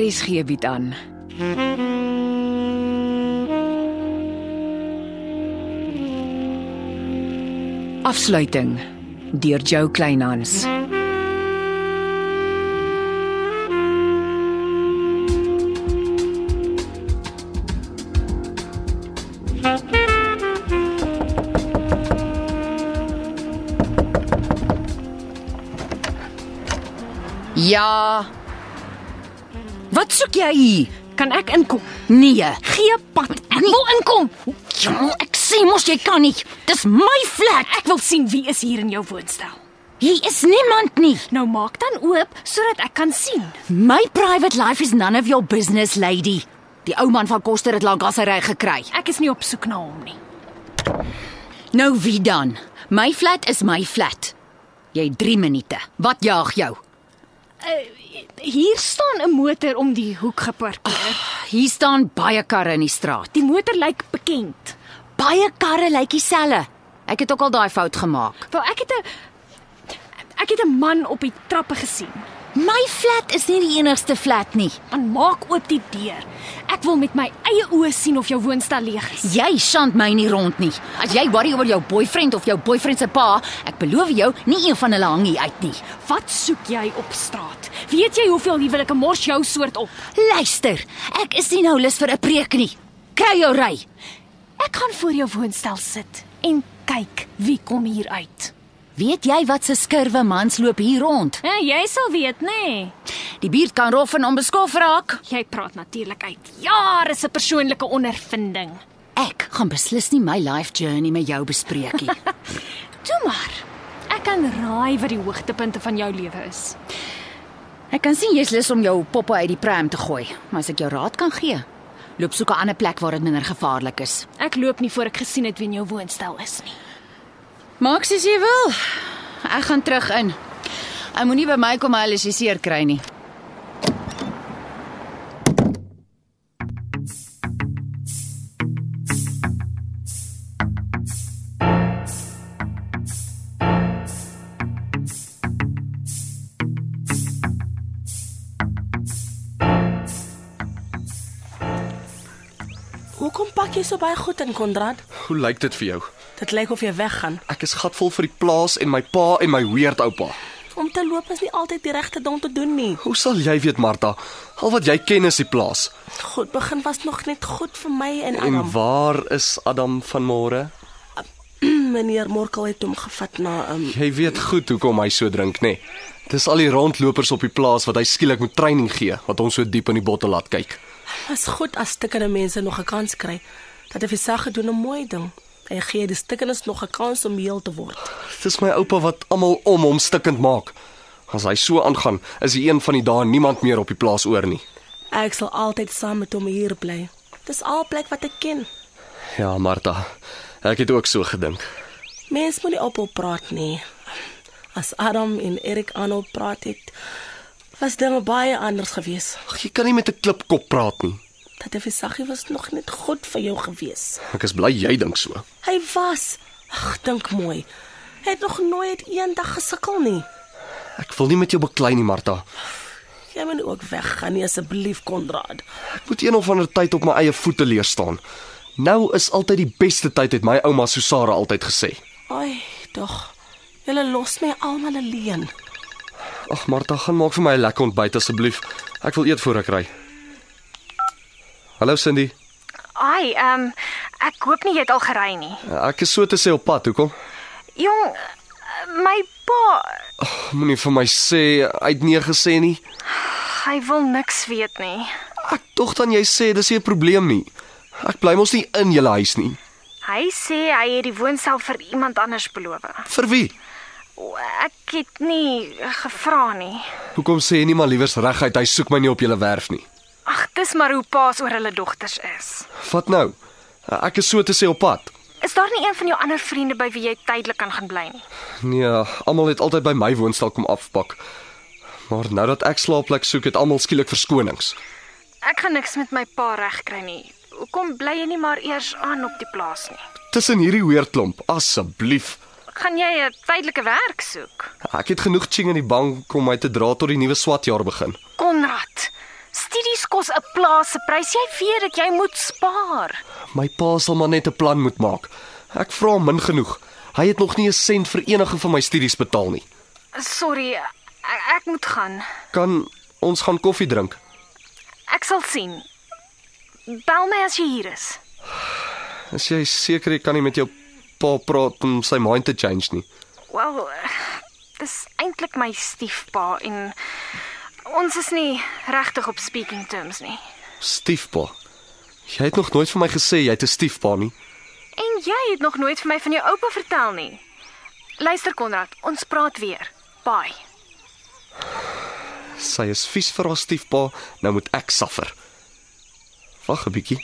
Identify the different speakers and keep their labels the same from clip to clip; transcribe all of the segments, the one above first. Speaker 1: RSG Er bied aan. Afsluiting deur Jo Kleinhans.
Speaker 2: Ja,
Speaker 1: Wat soek jy hier?
Speaker 2: kan ek inkom?
Speaker 1: Nee,
Speaker 2: Gee pad. Ek wil inkom.
Speaker 1: Jol, Ja, ek sê mos jy kan nie. Dis my flat.
Speaker 2: Ek wil sien wie is hier in jou woonstel.
Speaker 1: Hier is niemand nie.
Speaker 2: Nou maak dan oop sodat ek kan sien.
Speaker 1: My private life is none of your business, lady. Die ou man van Koster het lank al sy reg gekry.
Speaker 2: Ek is nie op soek na hom nie.
Speaker 1: Nou wie dan? My flat is my flat. Jy 3 minute. Wat jaag jou?
Speaker 2: Hier staan 'n motor om die hoek geparkeer.
Speaker 1: Hier staan baie karre in die straat.
Speaker 2: Die motor lyk bekend.
Speaker 1: Baie karre lyk dieselfde. Ek het ook al daai fout gemaak.
Speaker 2: Wel, ek het 'n ek het 'n man op die trappe gesien.
Speaker 1: My flat is nie die enigste flat nie.
Speaker 2: Man, maak oop die deur. Ek wil met my eie oë sien of jou woonstel leeg is.
Speaker 1: Jy skand my nie rond nie. As jy worry oor jou boyfriend of jou boyfriend se pa, ek beloof jou, nie een van hulle hang hier uit nie.
Speaker 2: Wat soek jy op straat? Weet jy hoeveel huwelike mors jou soort op?
Speaker 1: Luister, ek is nie nou lus vir 'n preek nie. Kry jou ry.
Speaker 2: Ek gaan voor jou woonstel sit en kyk wie kom hier uit.
Speaker 1: Weet jy wat se skurwe mans loop hier rond?
Speaker 2: Ja, jy sal weet, nê? Nee.
Speaker 1: Die buurt kan rof en onbeskof raak.
Speaker 2: Jy praat natuurlik uit jare se persoonlike ondervinding.
Speaker 1: Ek gaan beslis nie my life journey met jou bespreek nie.
Speaker 2: Toe maar. Ek kan raai wat die hoogtepunte van jou lewe is.
Speaker 1: ek kan sien jy's lus om jou poppe uit die pram te gooi, maar as ek jou raad kan gee, loop soek 'n ander plek waar dit minder gevaarlik is.
Speaker 2: Ek loop nie voor ek gesien het wie in jou woonstel is nie.
Speaker 1: Maak soos jy wil. Ek gaan terug in. Ek moenie by my kom huil as jy seer kry nie.
Speaker 3: Hoekom pak jy so baie goed in, Konrad?
Speaker 4: Hoe lyk dit vir jou?
Speaker 3: Dit lyk of jy weggaan.
Speaker 4: Ek is gatvol vir die plaas en my pa en my weird oupa.
Speaker 3: Om te loop is nie altyd die regte ding om te doen nie.
Speaker 4: Hoe sal jy weet, Martha? Al wat jy ken is die plaas.
Speaker 3: Goed, begin was nog net goed vir my en
Speaker 4: En
Speaker 3: Adam.
Speaker 4: waar is Adam vanmôre?
Speaker 3: Meneer Morkel het hom gevat na um,
Speaker 4: Jy weet goed hoekom hy so drink, nê? Nee. Dis al die rondlopers op die plaas wat hy skielik moet training gee, wat ons so diep in die bottel laat kyk.
Speaker 3: is goed as stikkende mense nog 'n kans kry. Dat het Visag gedoen 'n mooi ding. Hy gee die stikkendes nog 'n kans om heel te word.
Speaker 4: Dis my oupa wat almal om hom stikkend maak. As hy so aangaan, is die een van die dae niemand meer op die plaas oor nie.
Speaker 3: Ek sal altyd saam met hom hier bly. Dis al plek wat ek ken.
Speaker 4: Ja, Martha. Ek het ook so gedink.
Speaker 3: Mens moet nie ophou praat nie. As Adam en Erik aanhou praat het, was dinge baie anders geweest.
Speaker 4: Ag, jy kan nie met 'n klipkop praat nie.
Speaker 3: Dat die Visaggie was nog net goed vir jou gewees.
Speaker 4: Ek is bly jy dink so.
Speaker 3: Hy was, ag, dink mooi. Hy het nog nooit eendag gesukkel nie.
Speaker 4: Ek wil nie met jou beklei nie, Martha.
Speaker 3: Jy moet ook weggaan nie asseblief, Konrad.
Speaker 4: Ek moet een of ander tyd op my eie voete leer staan. Nou is altyd die beste tyd het my ouma Susara altyd gesê.
Speaker 3: Ai, tog. Julle los my almal alleen.
Speaker 4: Ag Martha, gaan maak vir my 'n lekker ontbyt asseblief. Ek wil eet voor ek ry. Hallo Cindy.
Speaker 2: Ai, ehm um, ek hoop nie jy het al gery nie.
Speaker 4: Ek is so te sê op pad, hoekom?
Speaker 2: Jong, my pa,
Speaker 4: Moenie vir my sê uit nee gesê nie.
Speaker 2: hy wil niks weet nie.
Speaker 4: Ek tog dan jy sê dis nie 'n probleem nie. Ek bly mos nie in julle huis nie.
Speaker 2: Hy sê hy het die woonstel vir iemand anders beloof.
Speaker 4: Vir wie?
Speaker 2: O, Ek het nie gevra nie.
Speaker 4: Hoekom sê jy nie maar liewers reguit hy soek my nie op julle werf nie?
Speaker 2: Ag, dis maar hoe paas oor hulle dogters is.
Speaker 4: Wat nou? Ek is so te sê op pad.
Speaker 2: Is daar nie een van jou ander vriende by wie jy tydelik kan gaan bly nie?
Speaker 4: Nee, almal het altyd by my woonstel kom afpak. Maar nou dat ek slaapplek soek, het almal skielik verskonings.
Speaker 2: Ek gaan niks met my pa regkry nie. Hoekom bly jy nie maar eers aan op die plaas nie?
Speaker 4: Tussen hierdie weerklomp, asseblief.
Speaker 2: Gaan jy 'n tydelike werk soek?
Speaker 4: Ek het genoeg ching in die bank om my te dra tot die nuwe swatjaar begin.
Speaker 2: Konrad, studie plaas se prys. Jy weet dat jy moet spaar.
Speaker 4: My pa sal maar net 'n plan moet maak. Ek vra hom min genoeg. Hy het nog nie 'n sent vir enige van my studies betaal nie.
Speaker 2: Sorry, ek, ek moet gaan.
Speaker 4: Kan ons gaan koffie drink?
Speaker 2: Ek sal sien. Bel my as jy hier is.
Speaker 4: As jy seker jy kan nie met jou pa praat om sy mind te change nie.
Speaker 2: Wel, dis eintlik my stiefpa en ons is nie regtig op speaking terms nie.
Speaker 4: Stiefpa. Jy het nog nooit vir my gesê jy het 'n stiefpa nie.
Speaker 2: En jy het nog nooit vir my van jou oupa vertel nie. Luister Konrad, ons praat weer. Bye.
Speaker 4: Sy is vies vir haar stiefpa, nou moet ek suffer. Wag 'n bietjie.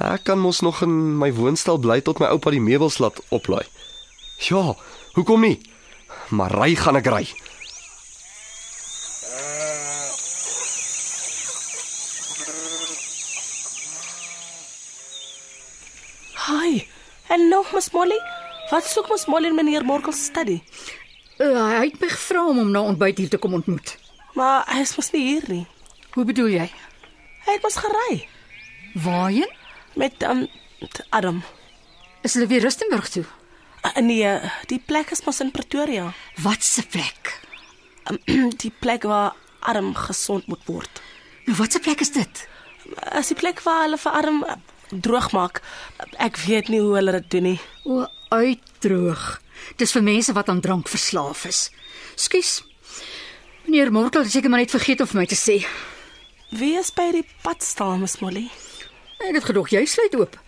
Speaker 4: Ek kan mos nog in my woonstel bly tot my oupa die meubels laat oplaai. Ja, hoekom nie? Maar ry gaan ek ry.
Speaker 3: Hi. En nog Miss Molly, wat soek Miss Molly in meneer Morkel se studie?
Speaker 1: Uh, hy het my gevra om hom na ontbyt hier te kom ontmoet.
Speaker 3: Maar hy is mos nie hier nie.
Speaker 1: Hoe bedoel jy?
Speaker 3: Hy het mos gery
Speaker 1: Waarheen?
Speaker 3: met um met Adam.
Speaker 1: Is hulle weer Rustenburg toe?
Speaker 3: Uh, nee, die plek is mos in Pretoria. Ehm,
Speaker 1: Wat se plek?
Speaker 3: die plek waar Adam gesond moet word.
Speaker 1: Nou wat se plek is dit?
Speaker 3: As die plek waar hulle vir Adam uh, droog maak. Ek weet nie hoe hulle dit doen nie.
Speaker 5: O, uitdroog. Dis vir mense wat aan drank verslaaf is. Skus. Meneer Mortel het seker maar net vergeet om vir my te sê.
Speaker 3: Wie is by die pad staan, Miss Molly?
Speaker 5: Ek het gedog jy sluit oop.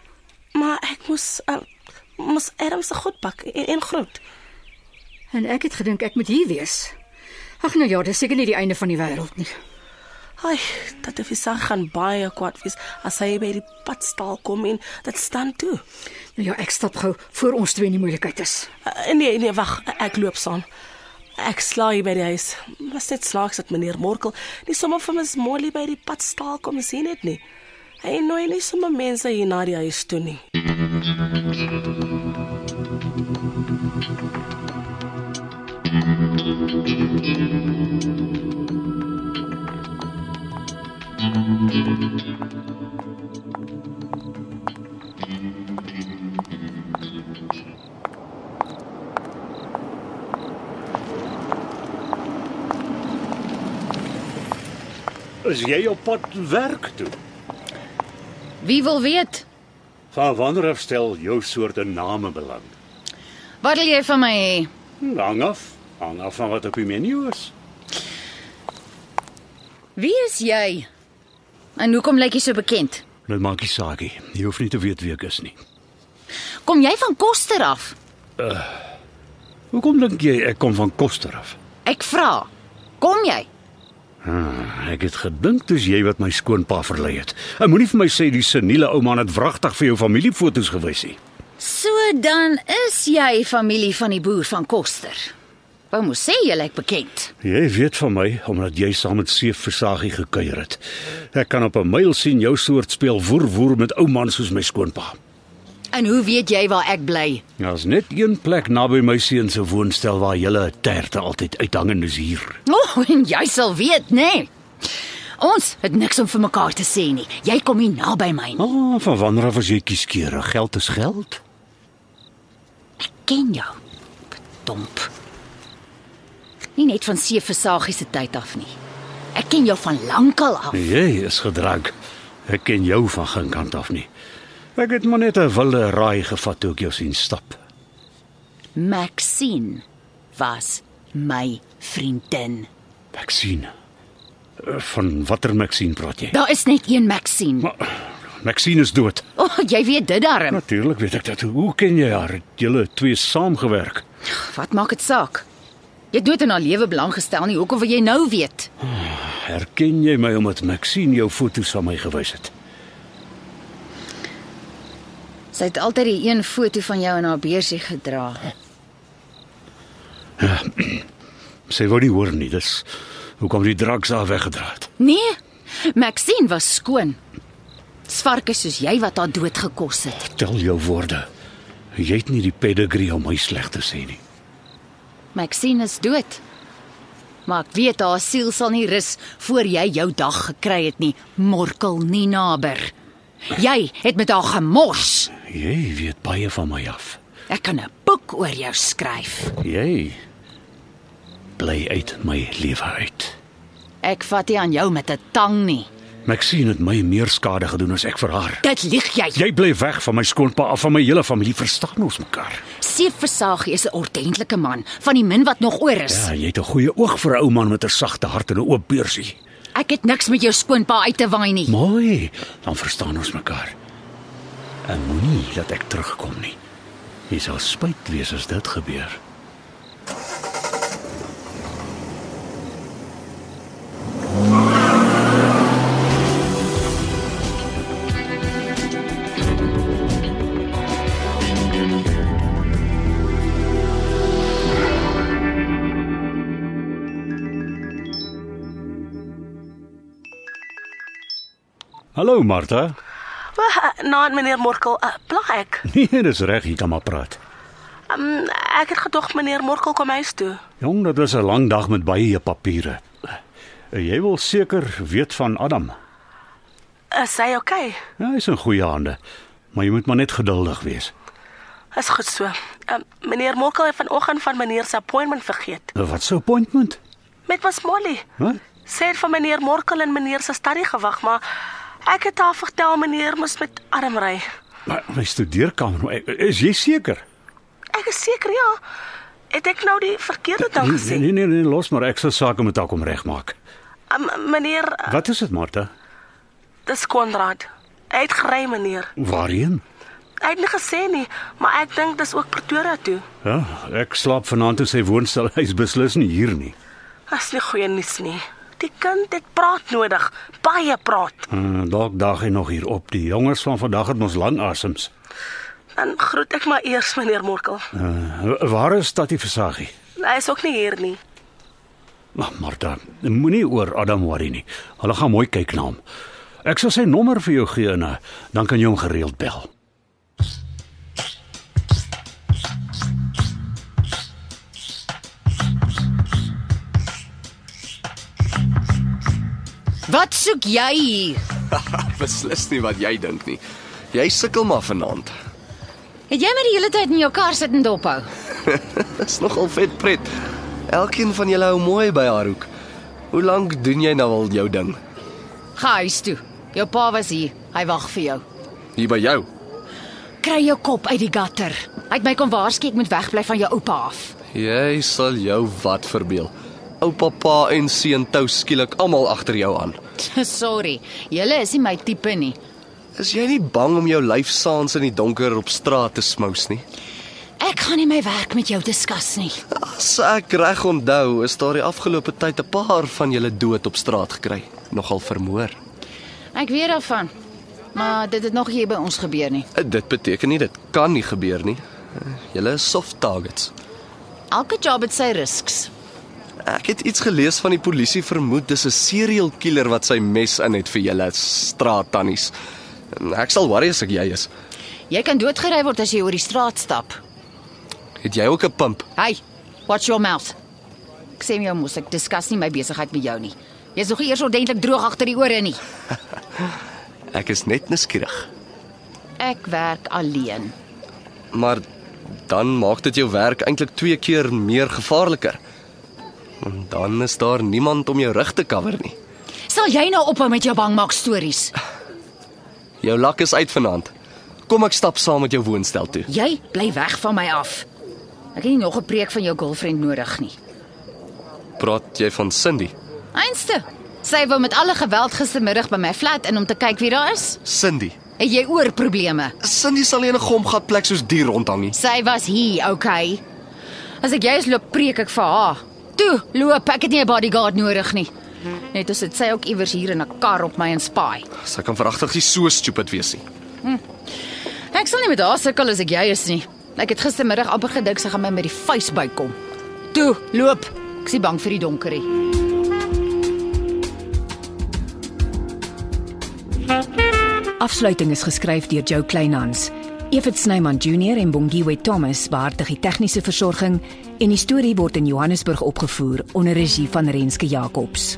Speaker 3: Maar ek moes uh, moes Adam se goed pak en, en groet.
Speaker 5: En ek het gedink ek moet hier wees. Ag nou ja, dis seker nie die einde van die wêreld nie.
Speaker 3: Ai, dat die visser gaan baie kwaad wees as hy by die padstaal kom en dit staan toe.
Speaker 5: Nou ja, ek stap gou voor ons twee in die moeilikheid is.
Speaker 3: Uh, nee, nee, wag, ek loop saam. Ek slaai by die huis. Was dit slaaks dat meneer Morkel nie sommer vir Miss Molly by die padstaal kom sien het nie. Hy nooi nie sommer mense hier na die huis toe nie.
Speaker 6: Is jy op pad werk toe?
Speaker 1: Wie wil weet?
Speaker 6: Van wanneer af stel jou soorte name belang?
Speaker 1: Wat wil jy van my hê?
Speaker 6: Hm, Hang af, hang af van wat op die menu is.
Speaker 1: Wie is jy? En hoekom lyk jy so bekend?
Speaker 6: Dit maak nie saak nie. Jy hoef nie te weet wie ek is nie.
Speaker 1: Kom jy van Koster af?
Speaker 6: Hoekom dink jy ek kom van Koster af?
Speaker 1: Ek vra. Kom jy?
Speaker 6: Ek het gedink dis jy wat my skoonpa verlei het. Ek moenie vir my sê die seniele ou man het wragtig vir jou familiefoto's gewys nie.
Speaker 1: So dan is jy familie van die boer van Koster. Wou mos sê jy lyk bekend.
Speaker 6: Jy weet van my omdat jy saam met Seef Versagie gekuier het. Ek kan op 'n myl sien jou soort speel woer woer met ou man soos my skoonpa.
Speaker 1: En hoe weet jy waar ek bly?
Speaker 6: Daar's Ja, net een plek naby my seun se woonstel waar julle 'n terte altyd uithang en dis hier.
Speaker 1: O, oh, en jy sal weet, nê? Nee. Ons het niks om vir mekaar te sê nie. Jy kom nie naby my nie.
Speaker 6: Ah, oh, van wanneer af as jy kieskeurig? Geld is geld.
Speaker 1: Ken jou. Domp. Nie net van Seeversagie se tyd af nie. Ek ken jou van lankal af.
Speaker 6: Jy is gedrank. Ek ken jou van geen kant af nie. Ek het maar net 'n wilde raai gevat toe ek jou sien stap.
Speaker 1: Maxine was my vriendin.
Speaker 6: Ek sien. Eh, Van watter Maxine praat jy?
Speaker 1: Daar is net een Maxine.
Speaker 6: Maar Maxine is dood.
Speaker 1: O, oh, jy weet dit darm.
Speaker 6: Natuurlik weet ek dat. Hoe ken jy haar? Het julle twee saamgewerk?
Speaker 1: Wat maak dit saak? Jy het nooit in haar lewe belang gestel nie. Hoekom wil jy nou weet?
Speaker 6: Herken jy my omdat Maxine jou foto's van my gewys het?
Speaker 1: Sy het altyd die een foto van jou in haar beursie gedra.
Speaker 6: Sy wou nie hoor nie. Dis hoekom die draks haar weggedra het.
Speaker 1: Nee, Maxine was skoon. Svarke soos jy wat haar dood gekos het.
Speaker 6: Tel jou woorde. Jy het nie die pedigree om my sleg te sê nie.
Speaker 1: Maxine is dood. Maar ek weet haar siel sal nie rus voor jy jou dag gekry het nie, Morkel Ninaber. Jy het met haar gemors.
Speaker 6: Jy weet baie van my af.
Speaker 1: Ek kan 'n boek oor jou skryf.
Speaker 6: Jy bly uit my lewe uit.
Speaker 1: Ek vat nie aan jou met 'n tang nie.
Speaker 6: Maxine het my meer skade gedoen as ek vir haar.
Speaker 1: Dit lieg jy.
Speaker 6: Jy bly weg van my skoonpa af, van my hele familie, verstaan ons mekaar?
Speaker 1: Seef Versaagie is 'n ordentlike man, van die min wat nog oor is.
Speaker 6: Ja, jy het 'n goeie oog vir 'n ou man met 'n sagte hart en 'n oop beursie.
Speaker 1: Ek het niks met jou skoonpa uit te waai nie.
Speaker 6: Mooi, dan verstaan ons mekaar. En moenie dat ek terugkom nie. Jy sal spyt wees as dit gebeur. Hallo Martha.
Speaker 3: Wel, nou meneer Morkel, uh, pla ek.
Speaker 6: Nee, dis reg, jy kan maar praat.
Speaker 3: Um, ek het gedog meneer Morkel kom huis toe.
Speaker 6: Jong, dit was 'n lang dag met baie papiere. Jy wil seker weet van Adam.
Speaker 3: Eh, Is hy okay?
Speaker 6: Ja, hy's in goeie hande, maar jy moet maar net geduldig wees.
Speaker 3: Is goed so. Um, meneer Morkel het vanoggend van meneer se appointment vergeet.
Speaker 6: Nou, Wat se appointment?
Speaker 3: Met was Molly.
Speaker 6: Wat?
Speaker 3: Sy het vir meneer Morkel en meneer se stadie gewag, maar ek het haar vertel meneer moes met arm ry.
Speaker 6: Maar my studeerkamer, eh, is jy seker?
Speaker 3: Ek is seker ja. Het ek nou die verkeerde ding
Speaker 6: Nee,
Speaker 3: gesê?
Speaker 6: nee, nee, nee, los maar, ek sal sake met haar kom regmaak.
Speaker 3: Um, meneer, uh,
Speaker 6: Wat is dit, Martha?
Speaker 3: dis Konrad. Hy het gery meneer.
Speaker 6: Waarheen?
Speaker 3: Hy het nie gesê nie, maar ek dink dis ook Pretoria toe.
Speaker 6: Ja, ek slaap vanaand in sy woonstel. Hy's beslis nie hier nie.
Speaker 3: As nie goeie nuus nie. Die kind het praat nodig, baie praat.
Speaker 6: Uh, dalk dag hy nog hier op. Die jonges van vandag het ons lang asems.
Speaker 3: Dan groet ek maar eers meneer Morkel.
Speaker 6: Uh, waar is Tatie Versaggie?
Speaker 3: Hy is ook nie hier nie.
Speaker 6: Maar Martha, moenie oor Adam worry nie. Hulle gaan mooi kyk na hom. Ek sal sy nommer vir jou gee en eh, dan kan jy hom gereeld bel.
Speaker 1: Wat soek jy hier?
Speaker 4: Beslis nie wat jy dink nie. Jy sukkel maar vanaand.
Speaker 1: Het jy maar die hele tyd in jou kar sit en dophou?
Speaker 4: Dis nogal vet pret. Elkeen van julle hou mooi by haar hoek. Hoe lank doen jy nou al jou ding?
Speaker 1: Gaan huis toe. Jou pa was hier. Hy wag vir jou.
Speaker 4: Hier by jou.
Speaker 1: Kry jou kop uit die gutter. Hy het my kom waarsku ek moet wegbly van jou oupa af.
Speaker 4: Jy sal jou wat verbeel. Oupa pa en seun tou skielik almal agter jou aan.
Speaker 1: Sorry. Julle is nie my tipe nie.
Speaker 4: Is jy nie bang om jou lyf saans in die donker op straat te smous nie?
Speaker 1: Ek gaan nie my werk met jou diskus nie.
Speaker 4: As ek reg onthou, is daar die afgelope tyd 'n paar van julle dood op straat gekry, nogal vermoor.
Speaker 1: Ek weet daarvan. Maar dit het nog hier by ons gebeur nie.
Speaker 4: Eh, Dit beteken nie dit kan nie gebeur nie. Eh, Julle is soft targets.
Speaker 1: Elke job het sy risks.
Speaker 4: Ek het iets gelees van die polisie vermoed dis 'n serial killer wat sy mes in het vir julle straattannies. Eh, Ek sal worry as ek jy is.
Speaker 1: Jy kan doodgery word as jy oor die straat stap.
Speaker 4: Het jy ook 'n pimp?
Speaker 1: Hey, watch your mouth. Ek sê jou mos ek diskus nie my besigheid met jou nie. Jy's nog nie eers ordentlik droog agter die ore nie.
Speaker 4: Ek is net nuuskierig.
Speaker 1: Ek werk alleen.
Speaker 4: Maar dan maak dit jou werk eintlik twee keer meer gevaarliker. En dan is daar niemand om jou rug te cover nie.
Speaker 1: Sal jy nou ophou met jou bangmaak stories?
Speaker 4: Jou lak is uit vanaand. Kom ek stap saam met jou woonstel toe.
Speaker 1: Jy bly weg van my af. Ek het nie nog 'n preek van jou girlfriend nodig nie.
Speaker 4: Praat jy van Cindy?
Speaker 1: Einste. Sy wou met alle geweld gistermiddag by my flat in om te kyk wie daar is.
Speaker 4: Cindy.
Speaker 1: Het jy oor probleme?
Speaker 4: Cindy sal nie in 'n gomgat plek soos dier rondhang nie.
Speaker 1: Sy was hier, okay. As ek jy is loop preek ek vir haar. Toe, loop, ek het nie 'n bodyguard nodig nie. Net as dit sy ook iewers hier in 'n kar op my en spy.
Speaker 4: Sy kan veragtig nie so stupid wees nie.
Speaker 1: Ek sal nie met haar sukkel as ek jy is nie. Ek het gistermiddag amper gedink sy gaan my met die vuis bykom. Toe, loop. Ek is nie bang vir die donkerie.
Speaker 7: Afsluiting is geskryf deur Jo Kleinhans. Evit Snyman Junior en Bongwe Thomas behartig die tegniese versorging en die storie word in Johannesburg opgevoer onder regie van Renske Jacobs.